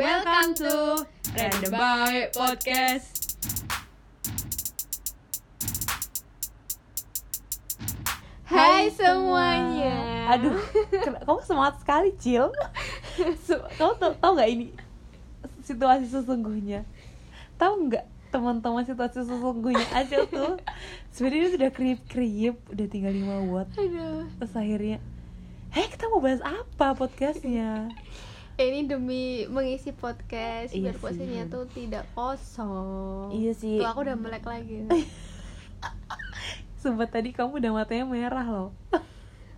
Welcome to Random By Podcast. Hai semuanya. Aduh, ken- kamu semangat sekali, Cil. Se- kamu tau, tau gak ini situasi sesungguhnya? Tahu nggak teman-teman situasi sesungguhnya aja tuh sebenarnya sudah kriip-kriip, udah tinggal 5 watt. Aduh. Terus akhirnya, hei kita mau bahas apa podcastnya? Ini demi mengisi podcast Iya biar sih. podcastnya tuh tidak kosong. Iya sih. Tuh aku udah melek lagi. Sumpah tadi kamu udah matanya merah loh.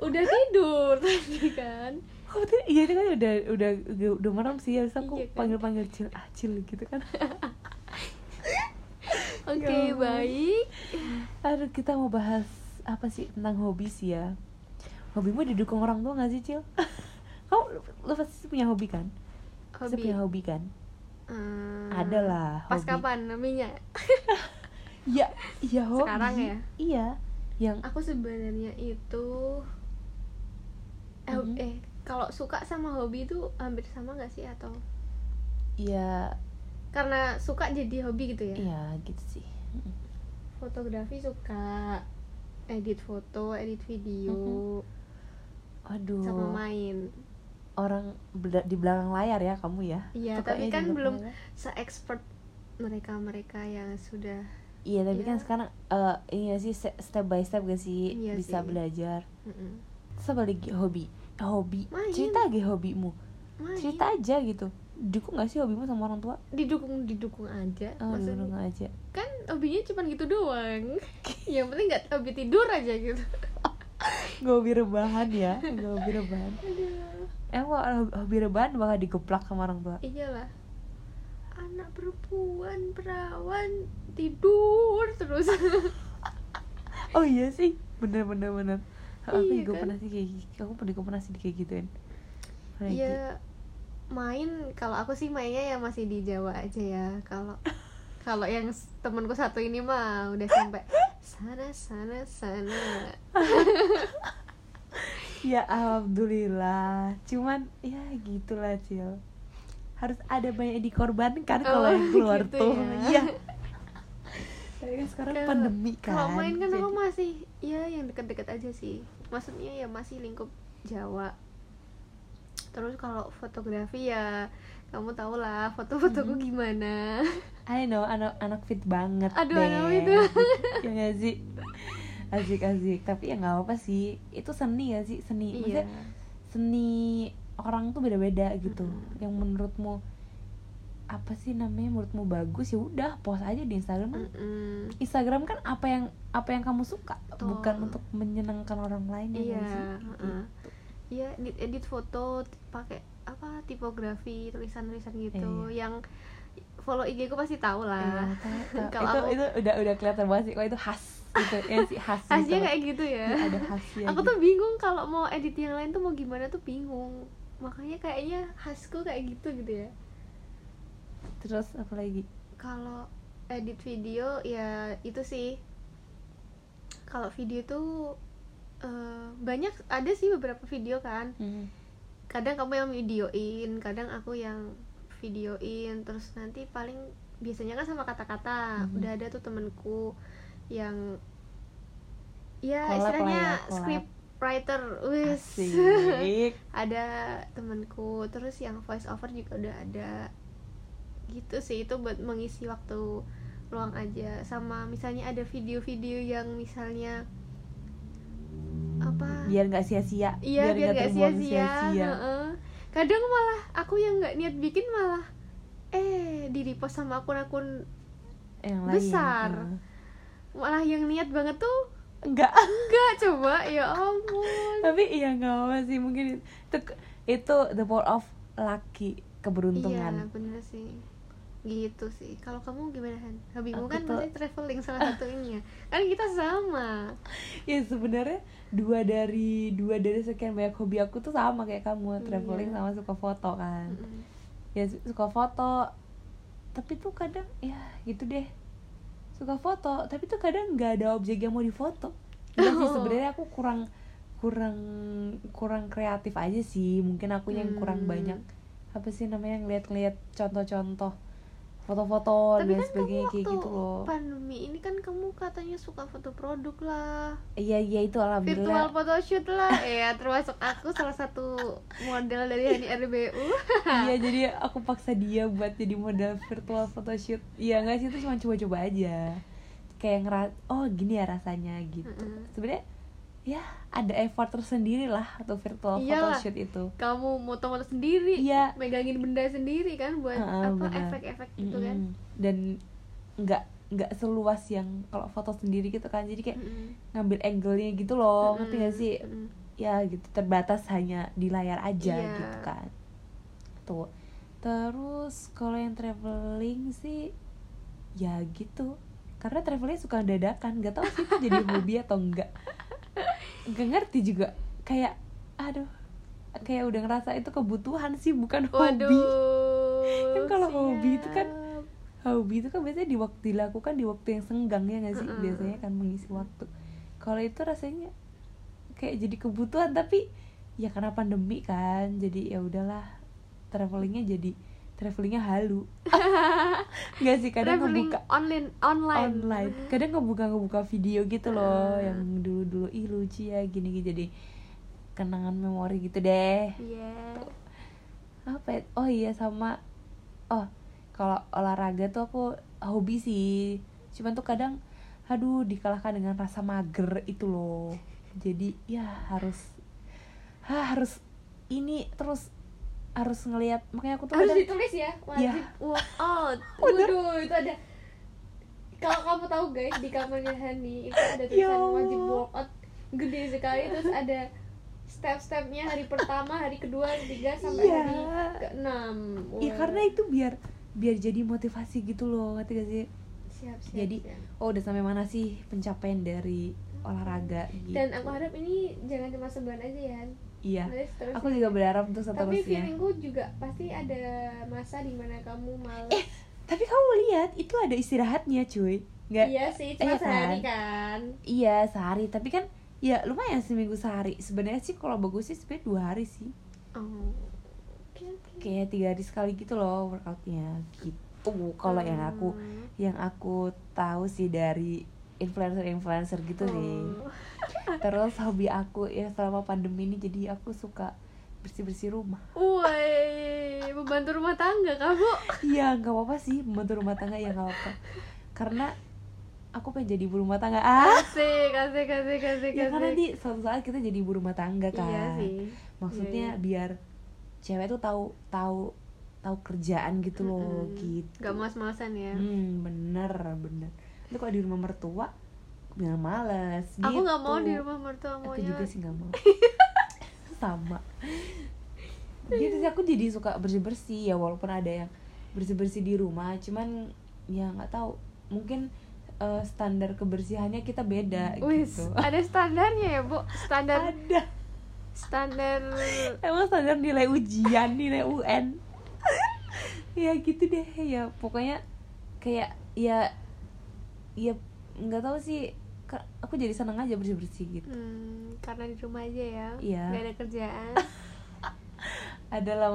udah tidur tadi kan. Kamu tadi, iya itu kan udah udah udah, udah merem sih, habis aku Iya kan. panggil-panggil Cil, ah Cil gitu kan. Oke, Ya ampun. baik. Aduh, kita mau bahas apa sih tentang hobi sih ya? Hobimu didukung orang tua gak sih, Cil? Kau lu, lu pasti punya hobi kan? Pasti Hobi. punya hobi kan? Hmm, Ada lah, Pas hobi. kapan namanya? Iya, iya hobi. Sekarang ya? Iya. Yang Aku sebenarnya itu eh, Mhm. eh kalau suka sama hobi itu hampir sama nggak sih atau iya karena suka jadi hobi gitu ya? iya gitu sih. Mm. Fotografi suka, edit foto, edit video, Aduh. sama main. Orang bela- di belakang layar ya kamu ya? Iya, Sukanya tapi kan di belakang belum layar. se-expert mereka-mereka yang sudah Iya, tapi Iya. kan sekarang eh iya sih se- step by step gak sih Iya sih. bisa belajar. Mm-mm. Terus apa lagi hobi? Hobi. Main. Cerita lagi hobimu. main. cerita aja gitu dukung gak sih hobimu sama orang tua didukung didukung aja. Eh, dukung Maksudnya aja kan hobinya cuma gitu doang. yang penting nggak hobi tidur aja gitu. gak hobi rebahan ya gak hobi rebahan Aduh. emang kalau hobi- hobi rebahan bakal digeplak sama orang tua Iyalah. Anak perempuan perawan tidur terus. oh iya sih bener bener bener aku Iya juga kan? pernah sih kayak gitu aku pernah juga pernah sih kayak gituin Pernah gitu. Iya main kalau aku sih mainnya ya masih di Jawa aja ya kalau kalau yang s- temenku satu ini mah udah sampai sana sana sana ya alhamdulillah cuman ya gitulah cil harus ada banyak yang dikorbankan kalau Oh, yang keluar gitu tuh ya. iya tapi kan sekarang Kalau- pandemi kan kalau main kan aku jadi- masih ya yang deket-deket aja sih maksudnya ya masih lingkup Jawa terus kalau fotografi ya kamu tau lah foto-fotoku Hmm. gimana I know, anak anak fit banget. Aduh, deh. anak fit ya gak sih? Asik asik, tapi ya nggak apa-apa sih. Itu seni ya sih, seni. iya Maksudnya seni orang tuh beda-beda gitu. Mm-mm. Yang menurutmu apa sih namanya menurutmu bagus ya udah post aja di Mm. Instagram kan. Mm-mm. Instagram kan apa yang apa yang kamu suka, Betul. bukan untuk menyenangkan orang lain ya iya nggak sih? heeh. iya edit, edit foto t- pakai apa tipografi tulisan-tulisan gitu yang follow IG ku pasti tau Iya, lah tahu, tahu. Ah. Kalau itu aku- itu udah udah kelihatan banget sih, wah itu khas gitu ya sih khas. gitu. Khasnya kayak gitu ya Iya, ada khasnya. aku gitu. tuh bingung kalau mau edit yang lain tuh mau gimana tuh bingung makanya kayaknya khasku kayak gitu gitu ya terus apa lagi? kalau edit video ya itu sih kalau video tuh eh, banyak ada sih beberapa video kan Hmm. kadang kamu yang videoin kadang aku yang videoin terus nanti paling biasanya kan sama kata-kata Mhm. udah ada tuh temenku yang ya Collab lah istilahnya ya, collab. script writer wis Asik. ada temanku terus yang voice over juga udah ada gitu sih itu buat mengisi waktu luang aja sama misalnya ada video-video yang misalnya apa biar nggak sia-sia iya biar nggak nggak terbuang sia-sia heeh. kadang malah aku yang nggak niat bikin malah eh di repost sama akun-akun yang Besar. heeh. malah yang niat banget tuh enggak nggak coba ya ampun tapi iya nggak apa sih mungkin itu itu the power of lucky iya keberuntungan bener sih gitu sih kalau kamu gimana Han? hobimu Aku kan tuh- masih traveling salah satunya kan kita sama ya sebenarnya dua dari dua dari sekian banyak hobi aku tuh sama kayak kamu Iya. traveling sama suka foto kan ya su- suka foto tapi tuh kadang ya gitu deh suka foto tapi tuh kadang nggak ada objek yang mau difoto Iya sih Oh. sebenarnya aku kurang kurang kurang kreatif aja sih mungkin aku yang kurang Hmm. banyak apa sih namanya ngeliat-ngeliat contoh-contoh foto-foto tapi kan dan kamu sebagainya waktu kayak gitu loh pandemi ini kan kamu katanya suka foto produk lah iya iya itu virtual alhamdulillah photoshoot lah ya termasuk aku salah satu model dari Hani RBU iya jadi aku paksa dia buat jadi model virtual photoshoot iya nggak sih itu cuma coba-coba aja kayak ngera oh gini ya rasanya gitu Mm-mm. sebenarnya ya ada effort tersendiri lah untuk virtual Iyalah. photoshoot itu kamu motong-motong sendiri Iya. megangin benda sendiri kan buat Heeh, apa benar. efek-efek gitu kan Mm-mm. dan nggak nggak seluas yang kalau foto sendiri gitu kan jadi kayak Mm-mm. ngambil angle-nya gitu loh ngerti gak sih Mm. Mm-mm. ya gitu terbatas hanya di layar aja Iya. gitu kan tuh terus kalau yang traveling sih ya gitu karena traveling suka dadakan gak tau sih itu jadi hobi atau enggak gak ngerti juga kayak aduh kayak udah ngerasa itu kebutuhan sih bukan waduh hobi Kan kalau hobi itu kan siap. hobi itu kan biasanya di waktu dilakukan di waktu yang senggang ya nggak sih Mm-mm. biasanya kan mengisi waktu kalau itu rasanya kayak jadi kebutuhan tapi ya karena pandemi kan jadi ya udahlah travelingnya jadi travelingnya halu nggak sih kadang traveling ngebuka online online, online kadang ngebuka ngebuka video gitu Ah. loh yang dulu dulu ih lucu ya gini gini jadi kenangan memori gitu deh Iya. apa ya? oh iya sama oh kalau olahraga tuh aku hobi sih cuman tuh kadang aduh dikalahkan dengan rasa mager itu loh jadi ya harus Hah, harus ini terus harus ngelihat makanya aku tuh harus kadang- ditulis ya Iya. wajib walk out Udah. waduh itu ada kalau kamu tahu guys di kamarnya Hani itu ada Ya tulisan wajib Allah. walk out gede sekali terus ada step-stepnya hari pertama hari kedua hari ketiga sampai Iya. hari keenam ya Wah. karena itu biar biar jadi motivasi gitu loh ngerti gak sih siap, siap, jadi siap. oh udah sampai mana sih pencapaian dari olahraga gitu dan aku harap ini jangan cuma sebulan aja ya Han. iya Nulis terus aku ya. juga berharap ya. untuk tapi seterusnya feelingku juga pasti ada masa dimana kamu malas Eh, tapi kamu lihat itu ada istirahatnya cuy nggak iya sih cuma iya kan? sehari kan iya sehari tapi kan ya lumayan seminggu sehari sebenarnya sih kalau bagus sih sebenarnya dua hari sih oh. oke oke kayak tiga hari sekali gitu loh workoutnya gitu kalau yang aku Hmm. yang aku tahu sih dari influencer-influencer gitu sih Oh. terus hobi aku ya selama pandemi ini jadi aku suka bersih-bersih rumah Oh. Woi, membantu rumah tangga kamu. Iya, nggak apa-apa sih membantu rumah tangga ya nggak apa-apa. Karena aku pengen jadi ibu rumah tangga. Ah, Asik, asik, asik, asik, ya karena asik. di suatu saat kita jadi ibu rumah tangga kan. Iya sih. Iya, Maksudnya biar cewek tuh tahu tahu tahu kerjaan gitu loh Mm-mm. gitu. Gak malas-malasan ya. Hmm, bener bener. Itu kalau di rumah mertua aku bilang males. Aku gitu. nggak mau di rumah mertua Aku maunya. juga sih nggak mau. Sama. Gitu sih aku jadi suka bersih bersih ya walaupun ada yang bersih bersih di rumah, cuman ya nggak tahu mungkin eh, standar kebersihannya kita beda Wis, gitu. ada standarnya ya, Bu. Standar Ada. standar Emang standar nilai ujian, nilai UN. ya gitu deh ya pokoknya kayak ya ya nggak tahu sih ke- aku jadi seneng aja bersih bersih gitu hmm, karena di rumah aja ya. Iya. Gak ada kerjaan. adalah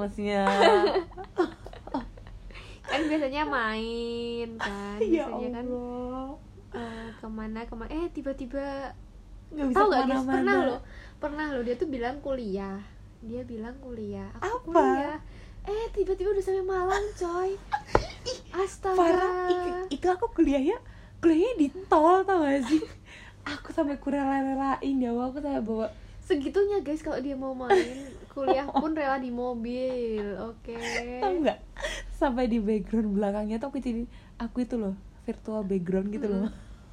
maksudnya kan biasanya main kan. ya Biasanya kan Allah eh, kemana kemana eh tiba-tiba nggak bisa tahu gak dia kemana-mana. pernah loh pernah loh dia tuh bilang kuliah dia bilang kuliah Apa? aku kuliah eh tiba-tiba udah sampai Malang coy astaga parah i- itu aku kuliahnya kuliahnya di tol tau gak sih aku sampai kurela-relain ya Allah, aku sampai bawa segitunya guys kalau dia mau main kuliah pun rela di mobil oke tau nggak sampai di background belakangnya tuh aku jadi aku itu loh virtual background gitu loh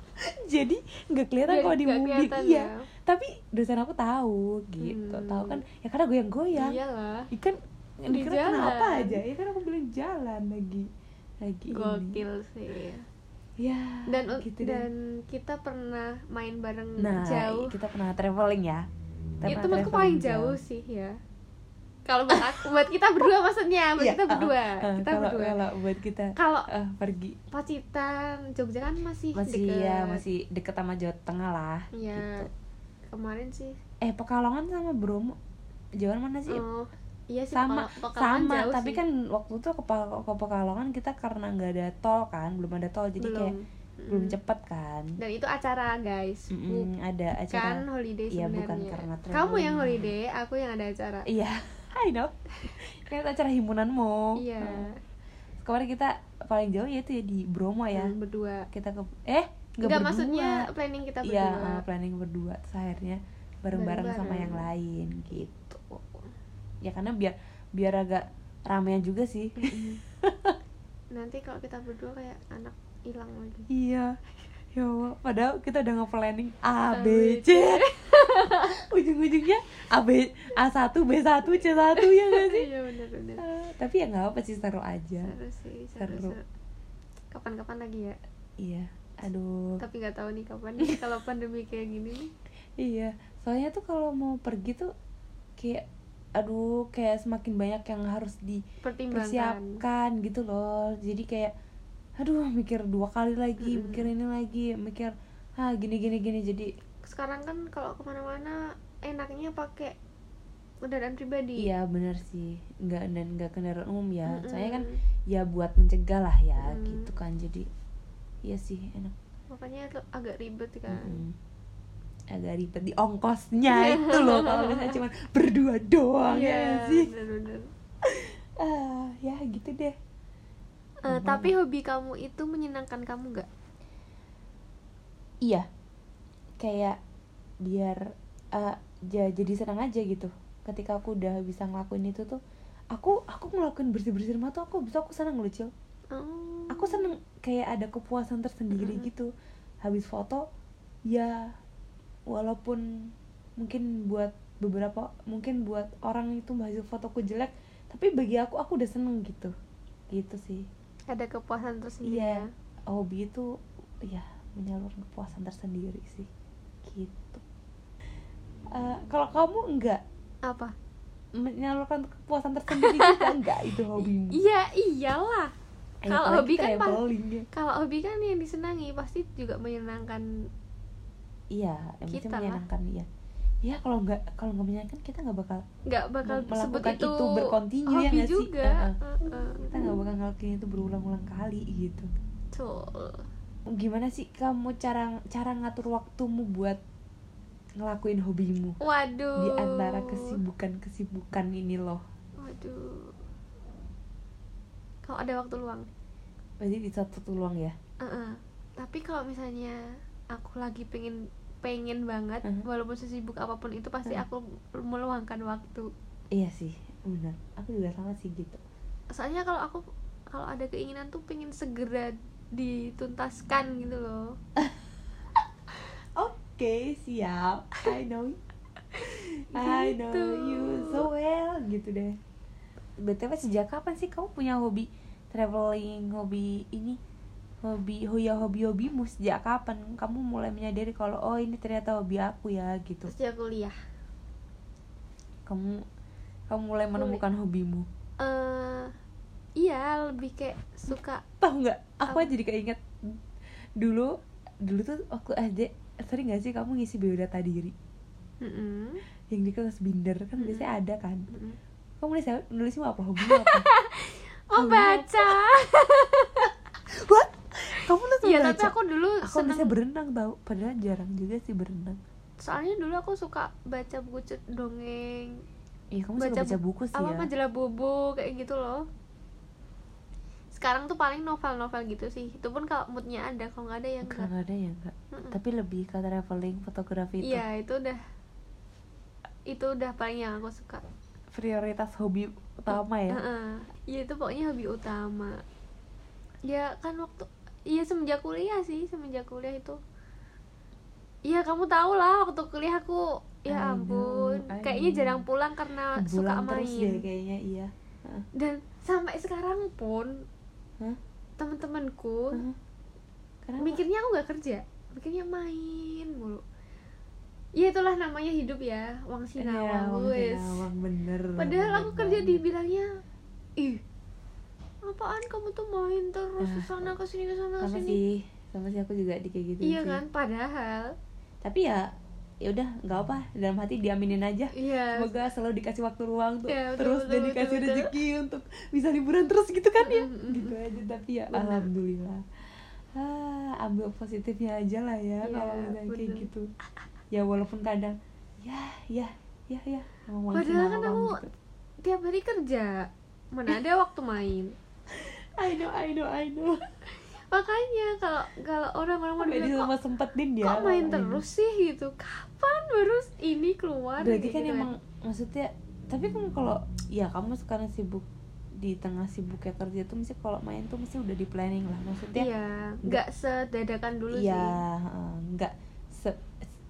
jadi nggak Hmm. kelihatan Jadi kalau di nggak mobil kelihatan ya. iya tapi dosen aku tahu gitu Hmm. tahu kan ya karena goyang-goyang iyalah ikan Di dikira kenapa jalan. aja ya kan aku bilang jalan lagi lagi ini gokil sih ya dan gitu deh. dan kita pernah main bareng Nah, jauh kita pernah traveling ya. Kita itu pernah menurutku traveling paling jauh sih ya kalau buat aku- buat kita berdua maksudnya buat Iya, kita uh-uh, berdua uh, kita kalau, berdua Kalau buat kita kalau eh, pergi Pacitan Jogja kan masih masih deket. ya masih deket sama Jawa Tengah lah. Iya. Gitu. kemarin sih Eh Pekalongan sama Bromo. Jawa mana sih? oh, iya sih sama Pekala- Pekalongan sama jauh tapi sih. kan waktu itu ke, Pal- ke Pekalongan kita karena nggak ada tol kan belum ada tol jadi belum kayak Mm. belum cepet kan dan itu acara guys Mm-mm, ada bukan acara holiday Iya, sebenarnya bukan karena kamu yang traveling. holiday aku yang ada acara iya I know kan acara himpunanmu iya Nah, kemarin kita paling jauh ya itu ya di Bromo ya Mm, berdua kita ke eh nggak Enggak berdua. maksudnya planning kita iya berdua ah, planning berdua terus akhirnya bareng-bareng sama Bareng-bareng. yang lain gitu ya karena biar biar agak ramean juga sih Mm-mm. nanti kalau kita berdua kayak anak hilang lagi iya ya Allah padahal kita udah nge-planning A, A B B, C ujung-ujungnya A B A 1 B 1 C 1 ya nggak sih iya bener bener Eh, tapi ya nggak apa sih seru aja seru sih seru, Seru. seru. kapan-kapan lagi ya iya aduh tapi nggak tahu nih kapan nih kalau pandemi kayak gini nih iya soalnya tuh kalau mau pergi tuh kayak aduh kayak semakin banyak yang harus di pertimbangkan persiapkan gitu loh jadi kayak aduh mikir dua kali lagi Mm-mm. mikir ini lagi mikir ah gini gini gini jadi sekarang kan kalau kemana-mana enaknya pakai kendaraan pribadi iya benar sih nggak dan nggak kendaraan umum ya Mm-mm. soalnya kan ya buat mencegah lah ya Mm. gitu kan jadi iya sih enak makanya itu agak ribet kan Mm-mm. agak ribet di ongkosnya itu loh kalau misalnya cuma berdua doang ya Iya, sih bener-bener. ah ya gitu deh Eh, tapi hobi kamu itu menyenangkan kamu nggak iya kayak biar eh, ja- jadi senang aja gitu ketika aku udah bisa ngelakuin itu tuh aku aku ngelakuin bersih bersih rumah tuh aku bisa aku senang loh Cil. Oh. aku seneng kayak ada kepuasan tersendiri Mm-mm. gitu habis foto ya walaupun mungkin buat beberapa mungkin buat orang itu hasil fotoku jelek tapi bagi aku aku udah seneng gitu gitu sih ada kepuasan tersendiri Iya, ya. hobi itu ya menyalurkan kepuasan tersendiri sih, gitu. Eh, kalau kamu enggak apa menyalurkan kepuasan tersendiri juga enggak itu hobimu? iya iyalah Eh, kalau apalagi hobi kita kan yang pas- paling ya. kalau hobi kan yang disenangi pasti juga menyenangkan Iya, yang penting Kita lah. menyenangkan ya. Ya kalau enggak kalau enggak menyenangkan kita enggak bakal nggak bakal Mem- melakukan sebut itu, itu berkontinu, ya hobi nggak sih? juga Heeh. kita enggak bakal ngelakuin itu berulang-ulang kali gitu. Betul. Gimana sih kamu cara cara ngatur waktumu buat ngelakuin hobimu? waduh di Oh. antara kesibukan-kesibukan ini loh waduh kalau ada waktu luang berarti di satu tulang ya Heeh. tapi kalau misalnya aku lagi pengen pengen banget Mhm. walaupun sesibuk apapun itu pasti Mhm. aku meluangkan waktu iya sih benar aku juga sama sih gitu soalnya kalau aku kalau ada keinginan tuh pengen segera dituntaskan gitu loh oke siap I know I know Gitu. you so well gitu deh btw sejak kapan sih kamu punya hobi traveling hobi ini hobi oh ya hobi hobimu sejak kapan kamu mulai menyadari kalau oh ini ternyata hobi aku ya gitu sejak kuliah kamu kamu mulai menemukan hobimu eh iya lebih kayak suka tahu nggak aku Apa? jadi keinget dulu dulu tuh waktu SD sering nggak sih kamu ngisi biodata diri Mm-mm. yang di kelas binder kan Mm-mm. biasanya ada kan Mm-mm. kamu nulis nulismu apa hobimu apa oh Hobinya baca what kamu nulis Iya membaca? tapi aku dulu aku seneng bisa berenang tau padahal jarang juga sih berenang soalnya dulu aku suka baca buku cer- dongeng iya kamu Baca suka baca buku sih apa ya majalah bobo kayak gitu loh sekarang tuh paling novel-novel gitu sih itu pun kalau moodnya ada kalau nggak ada ya enggak enggak ada ya enggak Mm-mm. tapi lebih ke traveling fotografi itu iya itu udah itu udah paling yang aku suka prioritas hobi utama ya Heeh. ya itu pokoknya hobi utama ya kan waktu iya semenjak kuliah sih semenjak kuliah itu Iya kamu tahu lah waktu kuliah aku I ya know, ampun I kayaknya know. jarang pulang karena suka bulan main terus ya kayaknya iya Heeh. dan sampai sekarang pun Hah? teman-temanku Heeh. Kenapa? mikirnya aku nggak kerja mikirnya main mulu ya itulah namanya hidup ya uang Iya, sinawang Wang wes Sinawang, bener padahal bener aku kerja banget. dibilangnya ih apaan kamu tuh main terus Ah, ke sana ke sini Iya ke sana ke sama sini sih sama sih aku juga di kayak gitu iya sih. kan padahal tapi ya ya udah nggak apa dalam hati diaminin aja Iya. semoga selalu dikasih waktu ruang tuh Iya, betul, terus betul, dan betul, dikasih betul. rezeki untuk bisa liburan terus gitu kan ya Mm, mm, mm. gitu aja tapi ya Benar. alhamdulillah ah, ambil positifnya aja lah Iya, ya kalau misalnya kayak benar. gitu ya walaupun kadang ya ya ya ya ngomong Padahal kan ngomong gitu. aku tiap hari kerja mana ada waktu main I know I know I know makanya kalau kalau orang-orang mau Sampai di bilang rumah ya, kok, sempetin dia kok main lama-lama. terus sih gitu kapan baru ini keluar berarti Kayak kan gitu emang maksudnya tapi kan kalau ya kamu sekarang sibuk di tengah sibuknya kerja tuh mesti kalau main tuh mesti udah di planning lah maksudnya iya nggak sedadakan dulu iya sih heeh, nggak se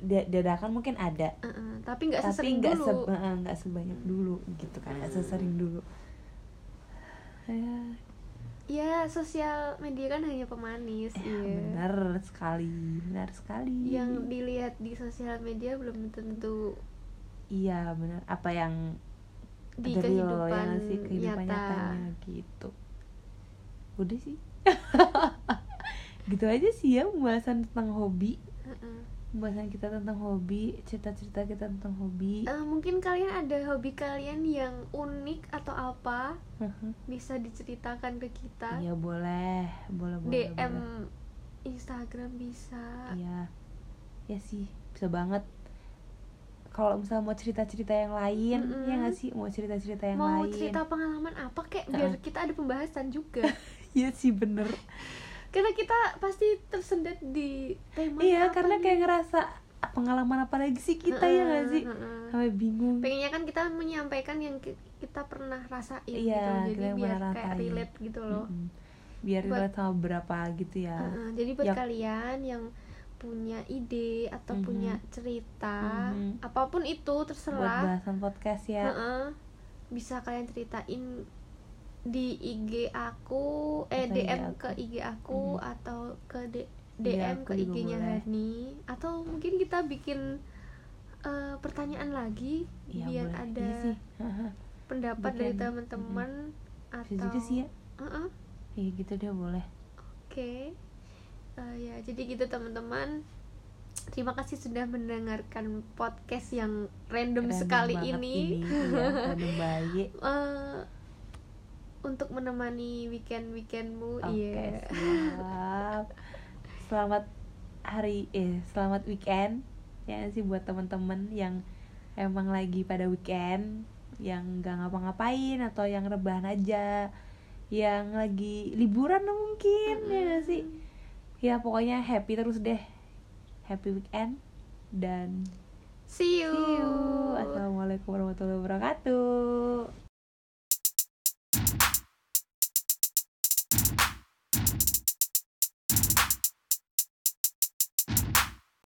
da- dadakan mungkin ada Heeh, tapi nggak tapi sesering nggak dulu Hmm. seba- eh, nggak sebanyak dulu gitu kan nggak sesering dulu ya, ya sosial media kan hanya pemanis ya, iya. benar sekali benar sekali yang dilihat di sosial media belum tentu iya benar apa yang di the real, kehidupan, ya nggak sih? kehidupan nyata nyatanya gitu udah sih gitu aja sih ya pembahasan tentang hobi Heeh. pembahasan kita tentang hobi cerita-cerita kita tentang hobi Eh, mungkin kalian ada hobi kalian yang unik atau apa bisa diceritakan ke kita iya boleh boleh DM boleh boleh. Instagram bisa iya ya sih bisa banget kalau misalnya mau cerita-cerita yang lain ya Mm-mm. nggak sih mau cerita-cerita yang mau lain cerita pengalaman apa kek biar Heeh. kita ada pembahasan juga iya sih bener karena kita pasti tersendat di tema iya apa karena nih. kayak ngerasa "Ah, pengalaman apa lagi sih kita ya nggak Heeh, sih heeh. sampai bingung pengennya kan kita menyampaikan yang ki- kita pernah rasain gitu Iya, kita jadi yang biar pernah kayak rasain. relate gitu loh Mm-mm. biar Buat- relate sama berapa gitu ya Heeh, jadi buat Ya. kalian yang punya ide atau Mhm. punya cerita Mhm. apapun itu buat terserah bahasan podcast ya Heeh. bisa kalian ceritain di IG aku eh Atau DM IG aku. ke IG aku Mhm. atau ke D- Iya, DM aku ke juga IG-nya boleh. Hani atau mungkin kita bikin eh, pertanyaan lagi Iya, biar boleh. ada Iya sih Haha. pendapat Bikin. dari teman-teman bisa atau juga sih ya Heeh. iya gitu deh boleh Oke, Eh, ya jadi gitu teman-teman. Terima kasih sudah mendengarkan podcast yang random, Random sekali banget ini. iya, random bayi Eh, untuk menemani weekend weekendmu, oke iya. siap selamat hari eh selamat weekend ya nggak sih buat teman-teman yang emang lagi pada weekend yang nggak ngapa-ngapain atau yang rebahan aja yang lagi liburan mungkin ya nggak sih ya pokoknya happy terus deh happy weekend dan See you. see you assalamualaikum warahmatullahi wabarakatuh